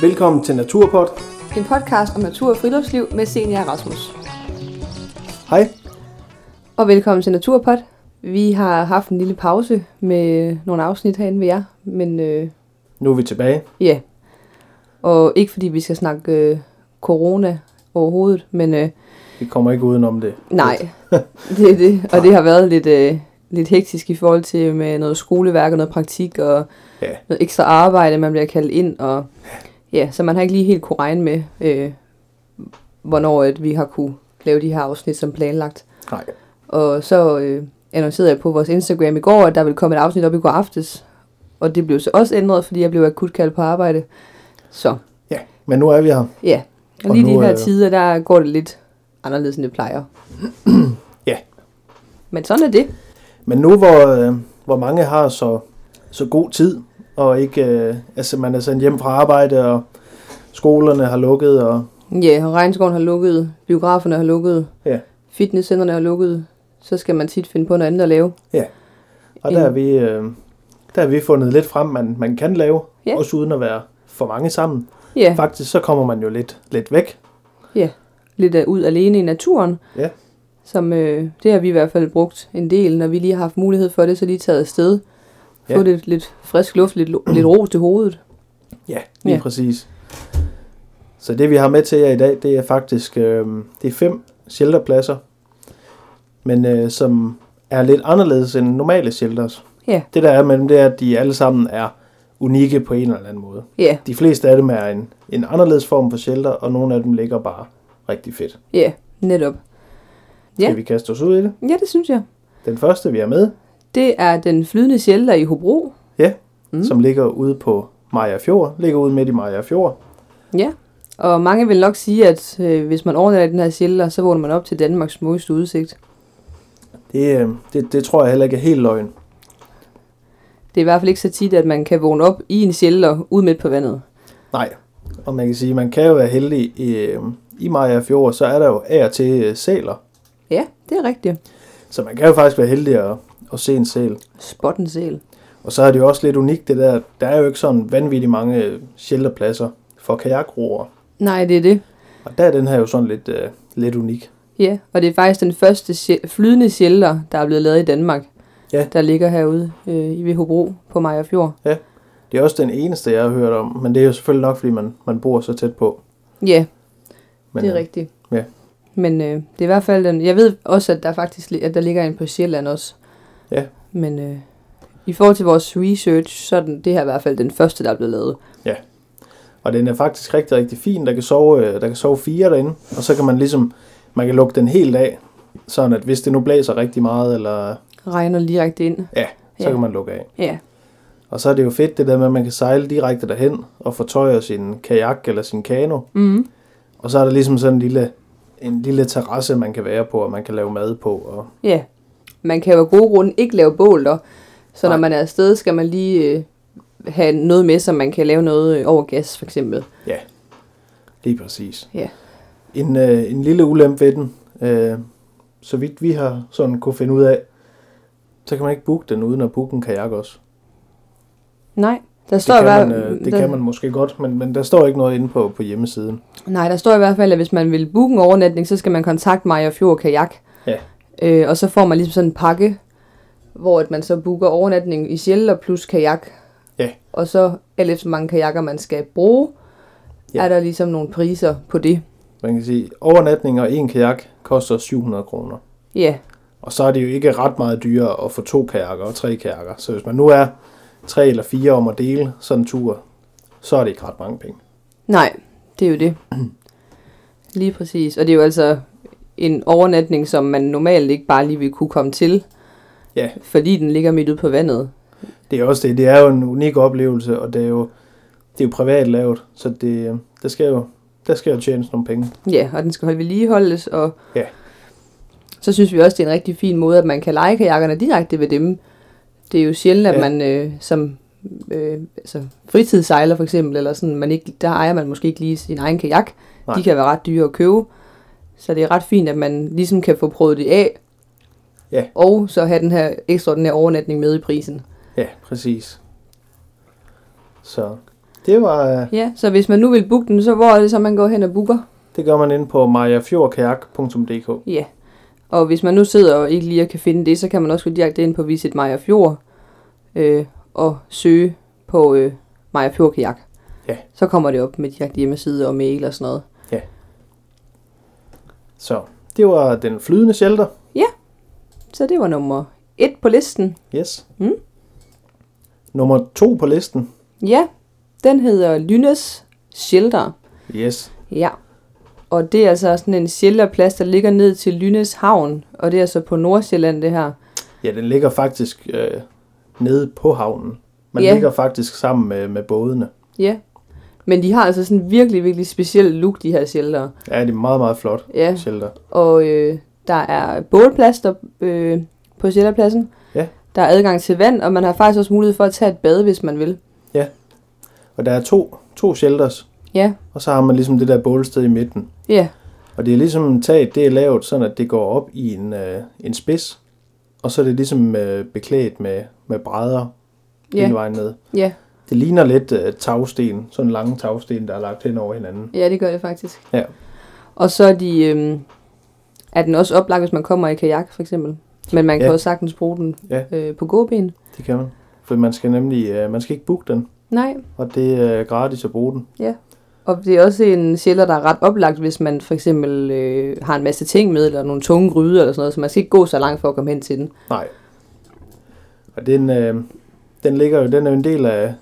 Velkommen til Naturpod. En podcast om natur og friluftsliv med Senior Rasmus. Hej. Og velkommen til Naturpod. Vi har haft en lille pause med nogle afsnit herinde ved jer, men øh, Nu er vi tilbage. ja. Og ikke fordi vi skal snakke øh, corona overhovedet, men øh, Vi kommer ikke udenom det. nej, det er det. Og det har været lidt, øh, lidt hektisk i forhold til med noget skoleværk og noget praktik og Ja. noget ekstra arbejde, man bliver kaldt ind, og ja, så man har ikke lige helt kunne regne med, øh, hvornår at vi har kunne lave de her afsnit som planlagt. Nej. Og så øh, annoncerede jeg på vores Instagram i går, at der ville komme et afsnit op i går aftes, og det blev så også ændret, fordi jeg blev akut kaldt på arbejde. Så Ja. Men nu er vi her. ja, og Og lige nu de her er- tider, der går det lidt anderledes, end det plejer. Ja. Men sådan er det. Men nu hvor, øh, hvor mange har så, så god tid, og ikke, øh, altså man er sendt hjem fra arbejde, og skolerne har lukket, og Ja, og regnskoven har lukket, biograferne har lukket, ja, fitnesscenterne har lukket, så skal man tit finde på noget andet at lave. ja. Og der er vi, øh, der er vi fundet lidt frem, man, man kan lave, Ja. også uden at være for mange sammen. Ja, Faktisk så kommer man jo lidt, lidt væk. ja. lidt øh, ud alene i naturen, Ja. som øh, det har vi i hvert fald brugt en del, når vi lige har haft mulighed for det, så lige taget afsted. Få Ja. lidt, lidt frisk luft, lidt, lo- lidt ros til hovedet. Ja, lige ja. Ja. præcis. Så det vi har med til jer i dag, det er faktisk øh, det er fem shelterpladser, men øh, som er lidt anderledes end normale shelters. Ja, Det der er med dem, det er, at de alle sammen er unikke på en eller anden måde. ja, De fleste af dem er en, en anderledes form for shelter, og nogle af dem ligger bare rigtig fedt. ja, netop. Skal Ja. vi kaste os ud i det? Ja, det synes jeg. Den første, vi er med, Det er den flydende shelter i Hobro. ja, mm. Mm. som ligger ude på Maja Fjord, ligger ude midt i Maja Fjord. Ja, og mange vil nok sige, at øh, hvis man overnatter i den her shelter, så vågner man op til Danmarks smukkeste udsigt. Det, øh, det, det tror jeg heller ikke er helt løgn. Det er i hvert fald ikke så tit, at man kan vågne op i en shelter ude midt på vandet. Nej, og man kan sige, man kan jo være heldig i, øh, i Maja Fjord, så er der jo af og til øh, sæler. Ja, det er rigtigt. Så man kan jo faktisk være heldig at, at se en sæl. Spot en sæl. Og så er det jo også lidt unikt det der, der er jo ikke sådan vanvittigt mange øh, shelterpladser for kajakroer. Nej, det er det. Og der er den her jo sådan lidt, øh, lidt unik. Ja, og det er faktisk den første sje- flydende shelter, der er blevet lavet i Danmark. Ja. Der ligger herude øh, i ved Hobro på Maja Fjord. Ja, det er også den eneste, jeg har hørt om, men det er jo selvfølgelig nok, fordi man, man bor så tæt på. Ja, Men, det er øh, rigtigt. Ja, Men øh, det er i hvert fald den. Jeg ved også, at der faktisk li- at der ligger en på Sjælland også. ja, Men øh, i forhold til vores research, så er den, det her i hvert fald den første, der er blevet lavet. Ja. øh, Og den er faktisk rigtig, rigtig fin. Der kan sove, øh, der kan sove fire derinde, og så kan man ligesom, man kan lukke den helt af, sådan at hvis det nu blæser rigtig meget, eller Regner direkte ind. ja, så ja. Ja. kan man lukke af. Ja, Og så er det jo fedt det der med, at man kan sejle direkte derhen og fortøje sin kajak eller sin kano. Mhm. Og så er der ligesom sådan en lille, en lille terrasse, man kan være på, og man kan lave mad på. Og, ja. Man kan jo af gode grunde ikke lave bål der. Så Nej. når man er afsted, skal man lige øh, have noget med, så man kan lave noget øh, over gas for eksempel. ja, lige præcis. Ja. En, øh, en lille ulempe ved den, øh, så vidt vi har sådan kunne finde ud af, så kan man ikke booke den uden at booke en kajak også. Nej, der Det, står i kan hvert man, øh, det der, kan man måske godt, men, men der står ikke noget inde på, på hjemmesiden. Nej, der står i hvert fald, at hvis man vil booke en overnatning, så skal man kontakte mig og Fjord Kajak. Ja, Øh, og så får man ligesom sådan en pakke, hvor at man så booker overnatning i shelter plus kajak. ja, Og så alt efter hvor mange kajakker man skal bruge, Ja. ja. er der ligesom nogle priser på det. man kan sige, overnatning og en kajak koster 700 kroner. Ja, Og så er det jo ikke ret meget dyrere at få to kajakker og tre kajakker. Så hvis man nu er tre eller fire om at dele sådan en tur, så er det ikke ret mange penge. nej, det er jo det. Lige præcis. Og det er jo altså en overnatning, som man normalt ikke bare lige vil kunne komme til, Ja, fordi den ligger midt ude på vandet. det er også det. Det er jo en unik oplevelse, og det er jo, det er jo privat lavet, så det, øh, der skal jo der skal jo tjenes nogle penge. Ja, og den skal holde vedligeholdes, og Ja. så synes vi også, det er en rigtig fin måde, at man kan lege kajakkerne direkte ved dem. Det er jo sjældent, at Ja. ja. man øh, som øh, altså fritidssejler for eksempel, eller sådan, man ikke, der ejer man måske ikke lige sin egen kajak. Nej. Nej. De kan være ret dyre at købe. Så det er ret fint, at man ligesom kan få prøvet det af, Ja. og så have den her ekstraordinære overnatning med i prisen. Ja, præcis. Så Det, var, øh, Ja, så hvis man nu vil booke den, så hvor er det så, man går hen og booker? det gør man inde på mariafjordkajak.dk. Ja. Og hvis man nu sidder og ikke lige kan finde det, så kan man også gå direkte ind på Visit Maja Fjord øh, og søge på øh, Maja Fjord Kajak. Ja. Så kommer det op med direkte hjemmeside og mail og sådan noget. Så det var den flydende shelter. Så det var nummer et på listen. Yes. Mm. Nummer to på listen. Ja, den hedder Lynes Shelter. Yes. Ja. Og det er altså sådan en shelterplads, der ligger ned til Lynes Havn. Og det er altså på Nordsjælland, det her. Ja, den ligger faktisk øh, nede på havnen. Man Ja. ligger faktisk sammen med, med bådene. Ja. Men de har altså sådan en virkelig, virkelig speciel look, de her shelter. Ja, det er meget, meget flot Ja. shelter. Og øh, der er bålplads der, øh, på shelterpladsen. Ja. Der er adgang til vand, og man har faktisk også mulighed for at tage et bad, hvis man vil. Og der er to, to shelters, Ja. og så har man ligesom det der bålsted i midten. Ja. Og det er ligesom taget, det er lavet sådan, at det går op i en, øh, en spids, og så er det ligesom øh, beklædt med, med brædder ja. Ja. hele vejen ned. Ja. Det ligner lidt øh, tagsten, sådan lange tagsten, der er lagt hen over hinanden. Ja, det gør det faktisk. Ja. Og så er de... Øh, er den også oplagt, hvis man kommer i kajak, for eksempel. Men man kan Ja. også sagtens bruge den Ja. øh, på gåben. Det kan man. For man skal nemlig, øh, man skal ikke booke den, Nej, og det er gratis at bruge den. Og det er også en sjælder, der er ret oplagt, hvis man for eksempel øh, har en masse ting med, eller nogle tunge gryder eller sådan noget, så man skal ikke gå så langt for at komme hen til den. Nej. Og den, øh, den ligger jo, den er jo en del af,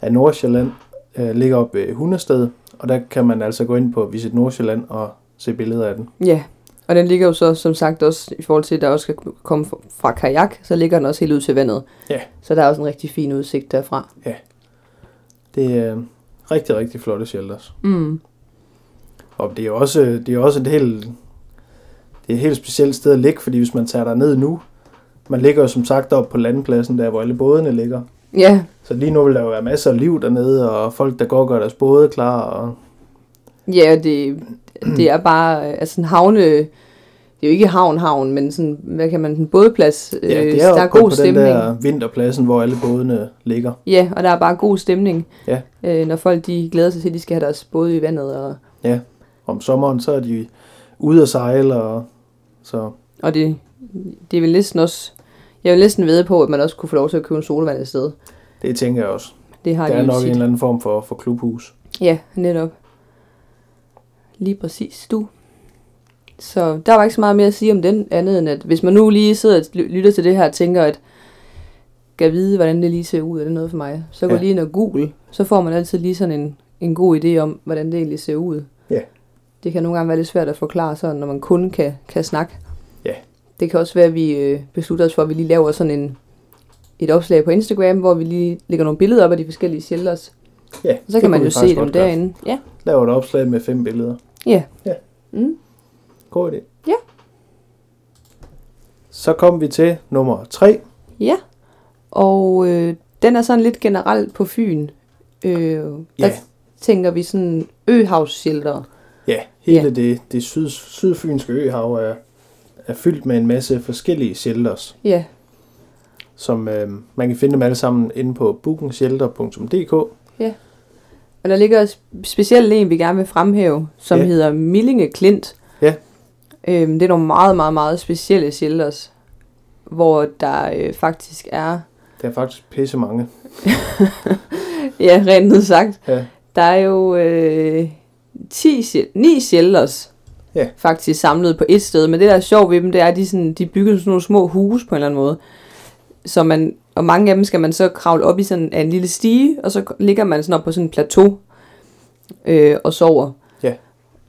af Nordsjælland, øh, ligger op ved Hundested, og der kan man altså gå ind på Visit Nordsjælland og se billeder af den. Ja, og den ligger jo så som sagt også, i forhold til, at der også skal komme fra- fra kajak, så ligger den også helt ud til vandet. Ja. Så der er også en rigtig fin udsigt derfra. Det er øh, rigtig, rigtig flotte shelters. Mm. Og det er jo også, det er jo også et helt, det er et helt specielt sted at ligge, fordi hvis man tager der ned nu, man ligger jo som sagt op på landpladsen, der hvor alle bådene ligger. Ja, Så lige nu vil der jo være masser af liv dernede, og folk, der går og gør deres både klar, og ja og det, det er bare, øh, altså en havne, det er jo ikke havn-havn, men sådan, hvad kan man, en bådplads, øh, Ja, det er så jo der er kun god på stemning. den der vinterpladsen, hvor alle bådene ligger. Ja, og der er bare god stemning, Ja. øh, når folk de glæder sig til, at de skal have deres både i vandet. Og, Om sommeren, så er de ude at sejle, og så og det, det er vel næsten også... Jeg vil næsten ved på, at man også kunne få lov til at købe en solvand et sted. det tænker jeg også. Det har Der de er jo nok en tit. eller anden form for, for klubhus. Ja, netop. Lige præcis, du. Så der var ikke så meget mere at sige om den, andet end at hvis man nu lige sidder og ly- lytter til det her og tænker, at skal vide, hvordan det lige ser ud, er det noget for mig, så gå Ja. lige ind og google, så får man altid lige sådan en, en god idé om, hvordan det egentlig ser ud. Ja. Det kan nogle gange være lidt svært at forklare sådan, når man kun kan, kan snakke. Ja. Det kan også være, at vi øh, beslutter os for, at vi lige laver sådan en, et opslag på Instagram, hvor vi lige lægger nogle billeder op af de forskellige shelters, Ja, så det kan man kunne jo vi se faktisk dem godt gøre. derinde. Ja. Lav et opslag med fem billeder. Ja. Ja. Mm. God idé. Ja. Så kom vi til nummer tre. Ja. Og øh, den er sådan lidt generelt på Fyn. Øh, der Ja. tænker vi sådan øhavsshelter. Ja, hele det, det syd, sydfynske øhav er, er fyldt med en masse forskellige shelters, Ja. som øh, man kan finde dem alle sammen inde på bookingshelter.dk. Og der ligger også specielt en, vi gerne vil fremhæve, som Ja. hedder Millinge Klint. Ja. Øhm, det er nogle meget, meget, meget specielle shelters, hvor der øh, faktisk er, Der er faktisk pisse mange. ja, rent ud sagt, Ja. der er jo øh, 10, sjæl- 9 shelters Ja. faktisk samlet på et sted. Men det, der er sjovt ved dem, det er, at de, sådan, de bygger sådan nogle små huse på en eller anden måde. Så man, og mange af dem skal man så kravle op i sådan af en lille stige, og så ligger man sådan op på sådan en plateau øh, og sover. Ja.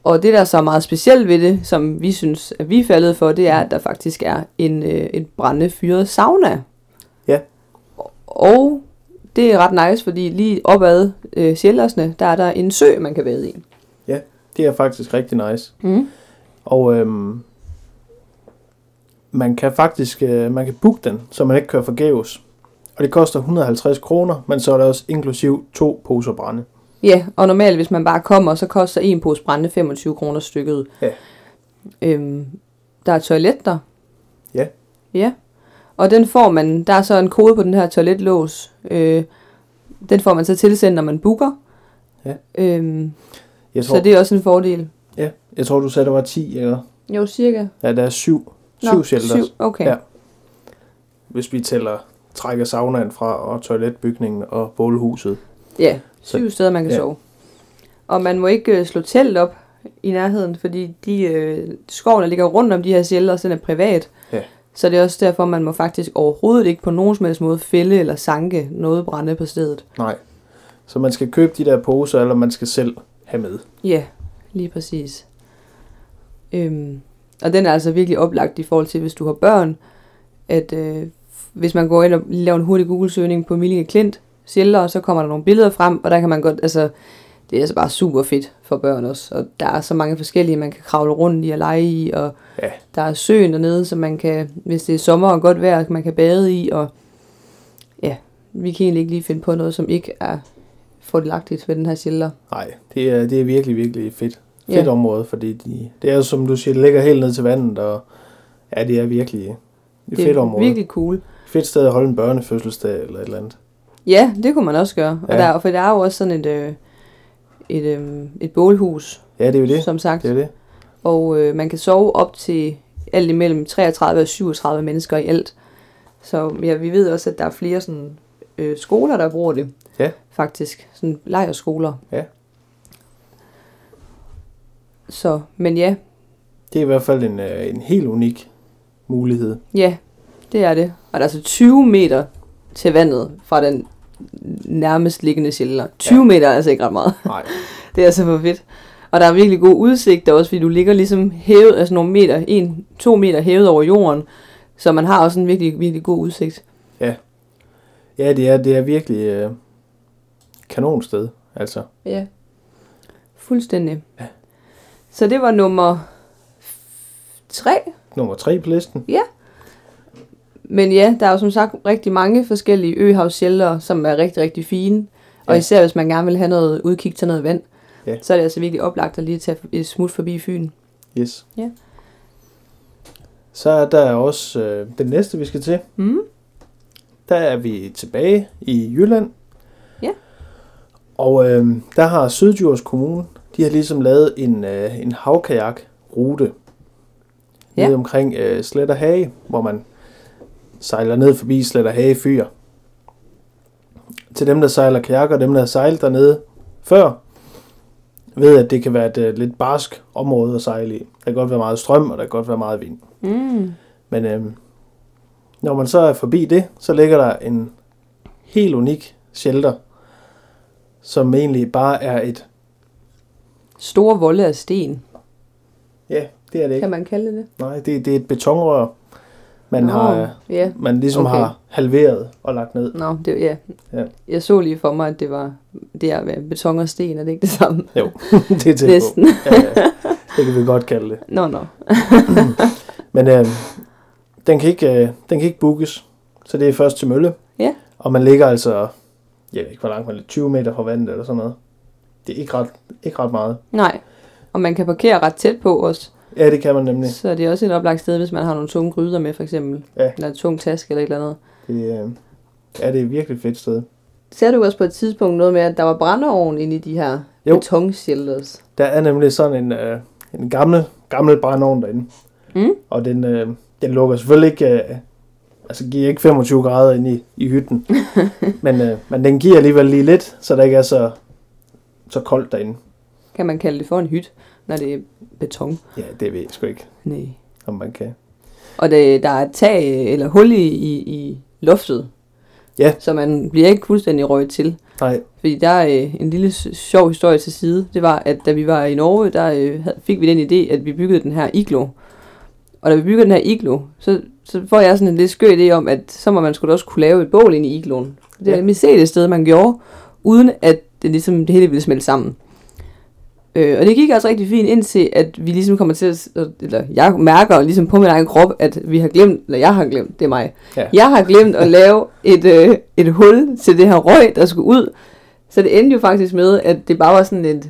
Og det, der er så meget specielt ved det, som vi synes, at vi er faldet for, det er, at der faktisk er en, øh, en brændende fyret sauna. Ja. Og det er ret nice, fordi lige opad øh, Sjællersne, der er der en sø, man kan vade i. Det er faktisk rigtig nice. Mm. Og øhm, man kan faktisk øh, man kan booke den, så man ikke kører forgæves. Og det koster 150 kroner, men så er der også inklusiv to poser brænde. Ja, og normalt, hvis man bare kommer, så koster en pose brænde 25 kroner stykket. Ja. Øhm, der er toilet der. Ja. Ja. Og den får man, der er så en kode på den her toiletlås. Øh, den får man så tilsendt, når man booker. Ja. Øhm, Jeg tror, så det er også en fordel. ja, jeg tror, du sagde, der var 10, eller? Jo, cirka. Ja, der er syv. Syv shelters. syv. Okay. Ja. Hvis vi tæller trækker saunaen fra, og toiletbygningen og bålhuset. ja. Så- Syv steder, man kan ja. ja. sove. Og man må ikke øh, slå telt op i nærheden, fordi de øh, skov, der ligger rundt om de her shelters, den er privat. Ja. Så det er også derfor, man må faktisk overhovedet ikke på nogen som helst måde fælde eller sanke noget brænde på stedet. Nej. Så man skal købe de der poser, eller man skal selv have med. Ja, lige præcis. Øhm, og den er altså virkelig oplagt i forhold til, hvis du har børn, at øh, hvis man går ind og laver en hurtig Google-søgning på Millinge Klint shelter, så kommer der nogle billeder frem, og der kan man godt, altså, det er altså bare super fedt for børn også, og der er så mange forskellige, man kan kravle rundt i og lege i, og Ja. der er søen dernede, så man kan, hvis det er sommer og godt vejr, man kan bade i, og ja, vi kan egentlig ikke lige finde på noget, som ikke er fordelagtigt ved den her shelter. Nej, det er, det er virkelig, virkelig fedt. Ja. Fedt område, fordi de, det er jo, som du siger, det ligger helt ned til vandet, og ja, det er virkelig et Det fedt er område. Virkelig... virkelig cool. Fedt sted at holde en børnefødselsdag eller et eller andet. Ja, det kunne man også gøre. Og Ja. ja. der, for der er jo også sådan et, øh, et, øh, et bålhus, Ja, det er jo det. som sagt. Det er det. Og øh, man kan sove op til alt imellem 33 og 37 mennesker i alt. Så ja, vi ved også, at der er flere sådan, øh, skoler, der bruger det. Ja. Faktisk. Sådan lejerskoler. Ja. Så, men ja, Det er i hvert fald en, øh, en helt unik mulighed. ja, det er det. Og der er så 20 meter til vandet fra den nærmest liggende shelter. 20 ja. meter er altså ikke ret meget. Nej, Det er altså for fedt. Og der er virkelig god udsigt der også, fordi du ligger ligesom hævet, altså nogle meter, en, to meter hævet over jorden. Så man har også en virkelig, virkelig god udsigt. ja, det er, det er virkelig øh, kanonsted, altså. Ja. Fuldstændig. Ja. Så det var nummer f- tre. Nummer tre på listen. Men ja, der er jo som sagt rigtig mange forskellige øhavsshelter, som er rigtig, rigtig fine. Og Ja. især hvis man gerne vil have noget udkig til noget vand, Ja. så er det altså virkelig oplagt at lige tage et smut forbi Fyn. Yes. Ja. Så er der også øh, den næste, vi skal til. Mm. Der er vi tilbage i Jylland. Ja. Og øh, der har Syddjurs Kommune, de har ligesom lavet en, øh, en havkajak-rute. Ja. Nede omkring øh, Sletterhage, hvor man sejler ned forbi Sletterhage Fyr. Til dem, der sejler kajak, og dem, der har sejlet dernede før, ved, at det kan være et øh, lidt barsk område at sejle i. Der kan godt være meget strøm, og der kan godt være meget vind. Mm. Men øhm, når man så er forbi det, så ligger der en helt unik shelter, som egentlig bare er et... Store volde af sten, Ja, det er det ikke. kan man kalde det det. Nej, det, det er et betonrør, man, Nå, har, øh, ja. man ligesom Okay. okay. har halveret og lagt ned. Nå, det, ja. Ja. ja. Jeg så lige for mig, at det var det er med beton og sten, er det ikke det samme? Jo, det er tæt på. Næsten. Ja, ja. Det kan vi godt kalde det. Nå, nå. Men øh, den, kan ikke, øh, den kan ikke bookes, så det er først til Mølle. Ja. Og man ligger altså, jeg ved ikke hvor langt, man er, 20 meter fra vandet eller sådan noget. Det er ikke ret, ikke ret meget. Nej. Og man kan parkere ret tæt på også. Ja, det kan man nemlig. Så det er også et oplagt sted, hvis man har nogle tunge gryder med, for eksempel. Ja. Eller en tung taske eller et eller andet. Det, øh, ja, det er et virkelig fedt sted. Ser du også på et tidspunkt noget med, at der var brændeovn inde i de her Jo. betonshelters? Der er nemlig sådan en, øh, en gammel, gammel brændeovn derinde. Mm. Og den, øh, den lukker selvfølgelig ikke... Øh, altså giver ikke 25 grader ind i, i hytten. men, øh, men den giver alligevel lige lidt, så der ikke er så, så koldt derinde. Kan man kalde det for en hyt, når det er beton? Ja, det ved jeg sgu ikke, Nej. om man kan. Og det, der er et tag øh, eller hul i, i, i loftet. Ja. Så man bliver ikke fuldstændig røget til. Nej, Fordi der er øh, en lille s- sjov historie til side. Det var, at da vi var i Norge, der øh, hav- fik vi den idé, at vi byggede den her iglo. Og da vi bygger den her iglo, så, så får jeg sådan en lidt skør idé om, at så må man skulle også kunne lave et bål ind i igloen. Det Ja. er nemlig set et sted, man gjorde, uden at det, ligesom, det hele ville smelte sammen. Øh, og det gik altså rigtig fint indtil, at vi ligesom kommer til at, s- eller jeg mærker ligesom på min egen krop, at vi har glemt, eller jeg har glemt, det er mig, Ja. jeg har glemt at lave et, øh, et hul til det her røg, der skulle ud. Så det endte jo faktisk med, at det bare var sådan et,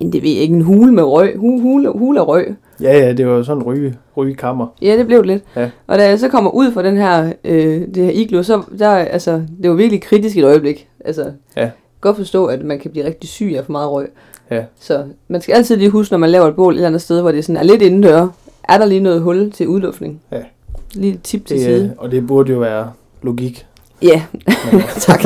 en, det ved jeg ikke, en hule med røg, hu, hule, hule af røg. ja, ja, det var jo sådan en ryge, rygekammer. Ja, det blev det lidt. Ja. Og da jeg så kommer ud fra den her, øh, det her iglo, så der, altså, det var virkelig kritisk et øjeblik. Altså, Ja. godt forstå, at man kan blive rigtig syg af for meget røg. Ja. Så man skal altid lige huske, når man laver et bål et eller andet sted, hvor det sådan er lidt indendør, er der lige noget hul til udluftning? Ja. Lige et tip til Det, side. øh, og det burde jo være logik. Ja, Men, øh, tak.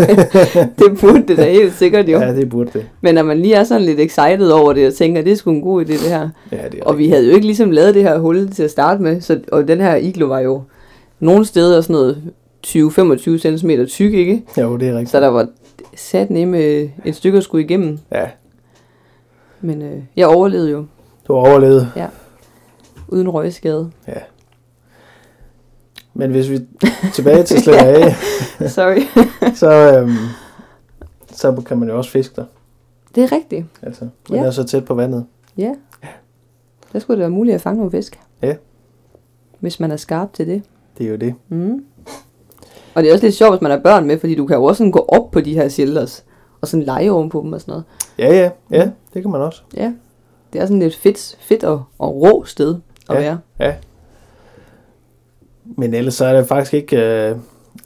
det burde det da helt sikkert jo. ja, det burde det. Men når man lige er sådan lidt excited over det, og tænker, det er sgu en god idé det her. Ja, det er Og vi rigtigt. havde jo ikke ligesom lavet det her hul til at starte med, så, og den her iglo var jo nogle steder sådan noget 20-25 cm tyk, ikke? Jo, det er rigtigt. Så der var sat nemme øh, et stykke at skulle igennem. Ja, Men øh, jeg overlevede jo du har overlevet. uden røgskade. Men hvis vi tilbage til slet af, Sorry. så, øhm, så kan man jo også fiske der. Det er rigtigt. Altså, man Ja. er så tæt på vandet. Ja. Der skulle det være muligt at fange nogle fisk. Ja. Hvis man er skarp til det. Det er jo det. Mm. Og det er også lidt sjovt, hvis man har børn med, fordi du kan jo også sådan gå op på de her shelters, og sådan lege oven på dem og sådan noget. Ja, ja, ja, Mm. det kan man også. Ja, det er sådan et fedt, fedt og, og rå sted at Ja. være. Men ellers så er det faktisk ikke... Øh,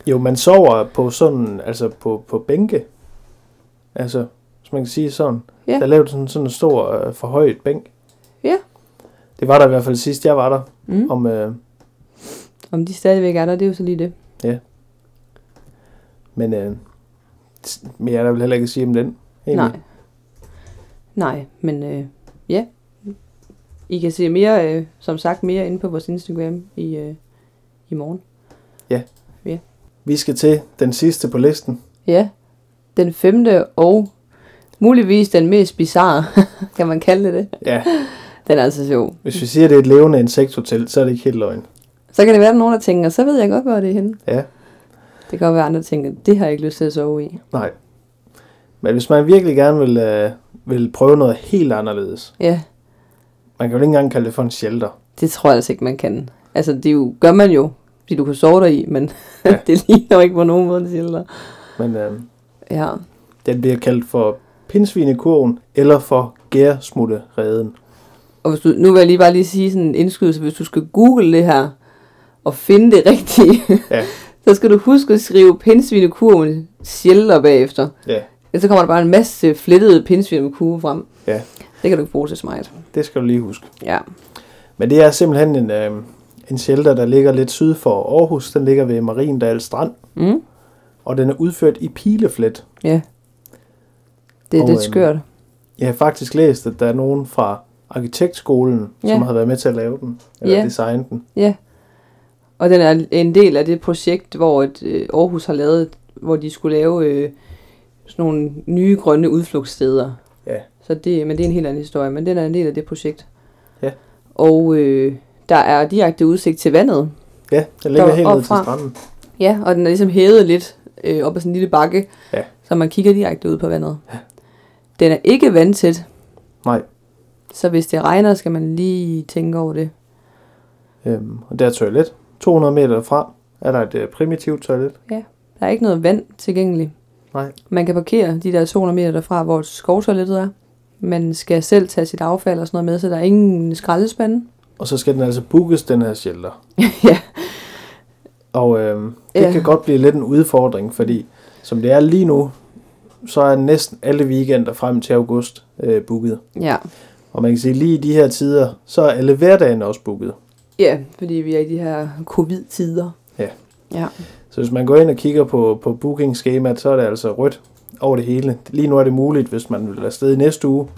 jo, man sover på sådan, altså på, på bænke. Altså, hvis man kan sige sådan. Ja. Der lavede sådan, sådan en stor øh, forhøjet bænk. Ja. Det var der i hvert fald sidst, jeg var der. Mm. Om, øh, Om de stadigvæk er der, det er jo så lige det. men øh, mere er der vel heller ikke at sige om den. egentlig. Nej. Nej, men øh, ja. I kan se mere, øh, som sagt, mere inde på vores Instagram i, øh, i morgen. Vi skal til den sidste på listen. Ja, den femte og muligvis den mest bizarre, kan man kalde det det. Ja, Den er altså sjov. hvis vi siger, at det er et levende insekthotel, så er det ikke helt løgn. Så kan det være, at der er nogen der tænker, så ved jeg godt, hvor det er henne. Ja. Det kan godt være, at andre tænker, det har jeg ikke lyst til at sove i. Nej. Men hvis man virkelig gerne vil, øh, vil prøve noget helt anderledes, Ja, man kan jo ikke engang kalde det for en shelter. det tror jeg altså ikke, man kan. Altså, det er jo, gør man jo, fordi du kan sove dig i, men Ja. ja. det ligner ikke på nogen måde, det siger Men øh, Ja, den bliver kaldt for pindsvinekurven eller for gærsmuttereden. og hvis du, nu vil jeg lige bare lige sige sådan en indskydelse, hvis du skal google det her, og finde det rigtige, Ja. så skal du huske at skrive pindsvinekurven sjælder bagefter. Ja, Ellers så kommer der bare en masse flettede pindsvin med kurve frem. Ja. Det kan du ikke bruge til smart. det skal du lige huske. Ja. Men det er simpelthen en, øh, en shelter, der ligger lidt syd for Aarhus. Den ligger ved Mariendal Strand, Mm? og den er udført i pileflet. Ja. Det er Og, og, lidt øhm, skørt. Jeg har faktisk læst, at der er nogen fra arkitektskolen, Ja. som har været med til at lave den, eller Ja. designe den. Ja. Og den er en del af det projekt, hvor et, øh, Aarhus har lavet, hvor de skulle lave øh, sådan nogle nye grønne udflugtssteder. Ja. Så det, men det er en helt anden historie, men den er en del af det projekt. Ja. Og øh, der er direkte udsigt til vandet. Ja, den ligger Der- helt ned til opfra. stranden. Ja, og den er ligesom hævet lidt øh, op ad sådan en lille bakke, Ja. så man kigger direkte ud på vandet. Ja. Den er ikke vandtæt, Nej, så hvis det regner, skal man lige tænke over det. øhm, og der er toilet. 200 meter derfra er der et øh, primitivt toilet. Der er ikke noget vand tilgængeligt. Nej. Man kan parkere de der 200 meter derfra, hvor skovtoilettet er. Man skal selv tage sit affald og sådan noget med, så der er ingen skraldespande. Og så skal den altså bookes, den her shelter. ja. Og øhm, det Ja. kan godt blive lidt en udfordring, fordi som det er lige nu, så er næsten alle weekender frem til august øh, booket. ja. Og man kan sige, lige i de her tider, så er alle hverdagen også booket. Ja, fordi vi er i de her covid-tider. Ja. Ja. Så hvis man går ind og kigger på, på booking-skemaet, så er det altså rødt over det hele. Lige nu er det muligt, hvis man vil afsted i næste uge,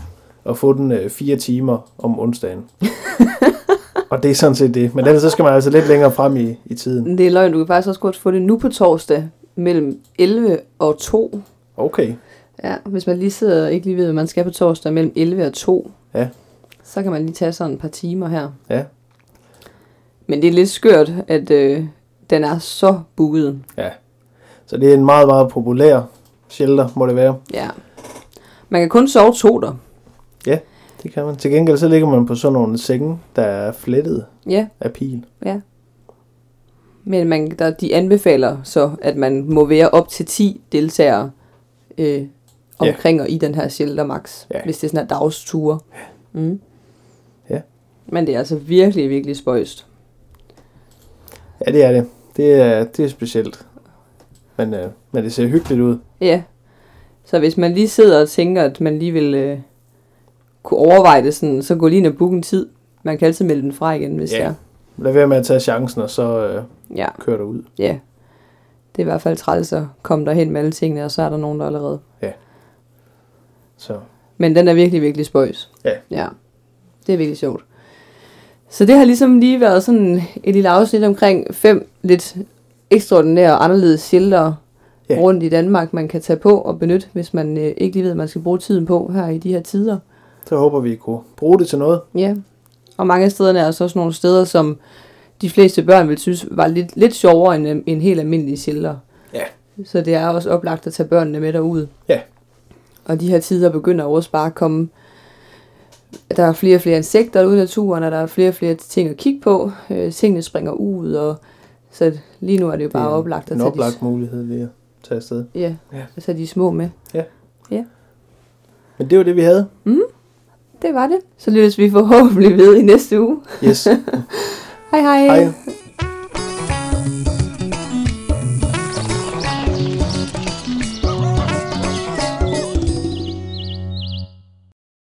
at få den øh, fire timer om onsdagen. og det er sådan set det. Men ellers så skal man altså lidt længere frem i, i tiden. Det er løgn, du kan faktisk også godt få det nu på torsdag mellem 11 og 2. Okay, Ja, hvis man lige sidder og ikke lige ved, hvad man skal på torsdag mellem 11 og 2. Ja. Så kan man lige tage sådan et par timer her. Ja. Men det er lidt skørt, at øh, den er så booket. så det er en meget, meget populær shelter, må det være. Ja. Man kan kun sove to der. Det kan man. Til gengæld så ligger man på sådan nogle senge, der er flettet Ja, af pil. men man, der, de anbefaler så, at man må være op til 10 deltagere øh, omkring og i den her shelter max, Ja. hvis det er sådan her dagsture. Mm. Ja. Men det er altså virkelig, virkelig spøjst. Ja, det er det. Det er, det er specielt. Men, øh, men det ser hyggeligt ud. Ja. Så hvis man lige sidder og tænker, at man lige vil øh, kunne overveje det sådan, så gå lige ind og book en tid. Man kan altid melde den fra igen, hvis Ja. yeah. det er. Lad være med at tage chancen, og så øh, Ja, kører du ud. ja. Det er i hvert fald træls at komme derhen med alle tingene, og så er der nogen, der allerede. Så Men den er virkelig, virkelig spøjs. Ja. Ja, det er virkelig sjovt. Så det har ligesom lige været sådan et lille afsnit omkring fem lidt ekstraordinære og anderledes sheltere Ja. yeah. rundt i Danmark, man kan tage på og benytte, hvis man øh, ikke lige ved, at man skal bruge tiden på her i de her tider. så håber vi, I kunne bruge det til noget. Ja, og mange af stederne er så også nogle steder, som de fleste børn vil synes var lidt, lidt sjovere end, øh, end helt almindelige shelter. Ja. Så det er også oplagt at tage børnene med derud. Ja. Og de her tider begynder også bare at komme. Der er flere og flere insekter ude i naturen, og der er flere og flere ting at kigge på. Øh, tingene springer ud, og så lige nu er det jo bare Det er oplagt at En tage oplagt mulighed lige at tage afsted. de, ja, Ja. at tage de små med. Men det var det, vi havde. Det var det. Så lyttes vi forhåbentlig ved i næste uge. Yes. Hej hej. Hej.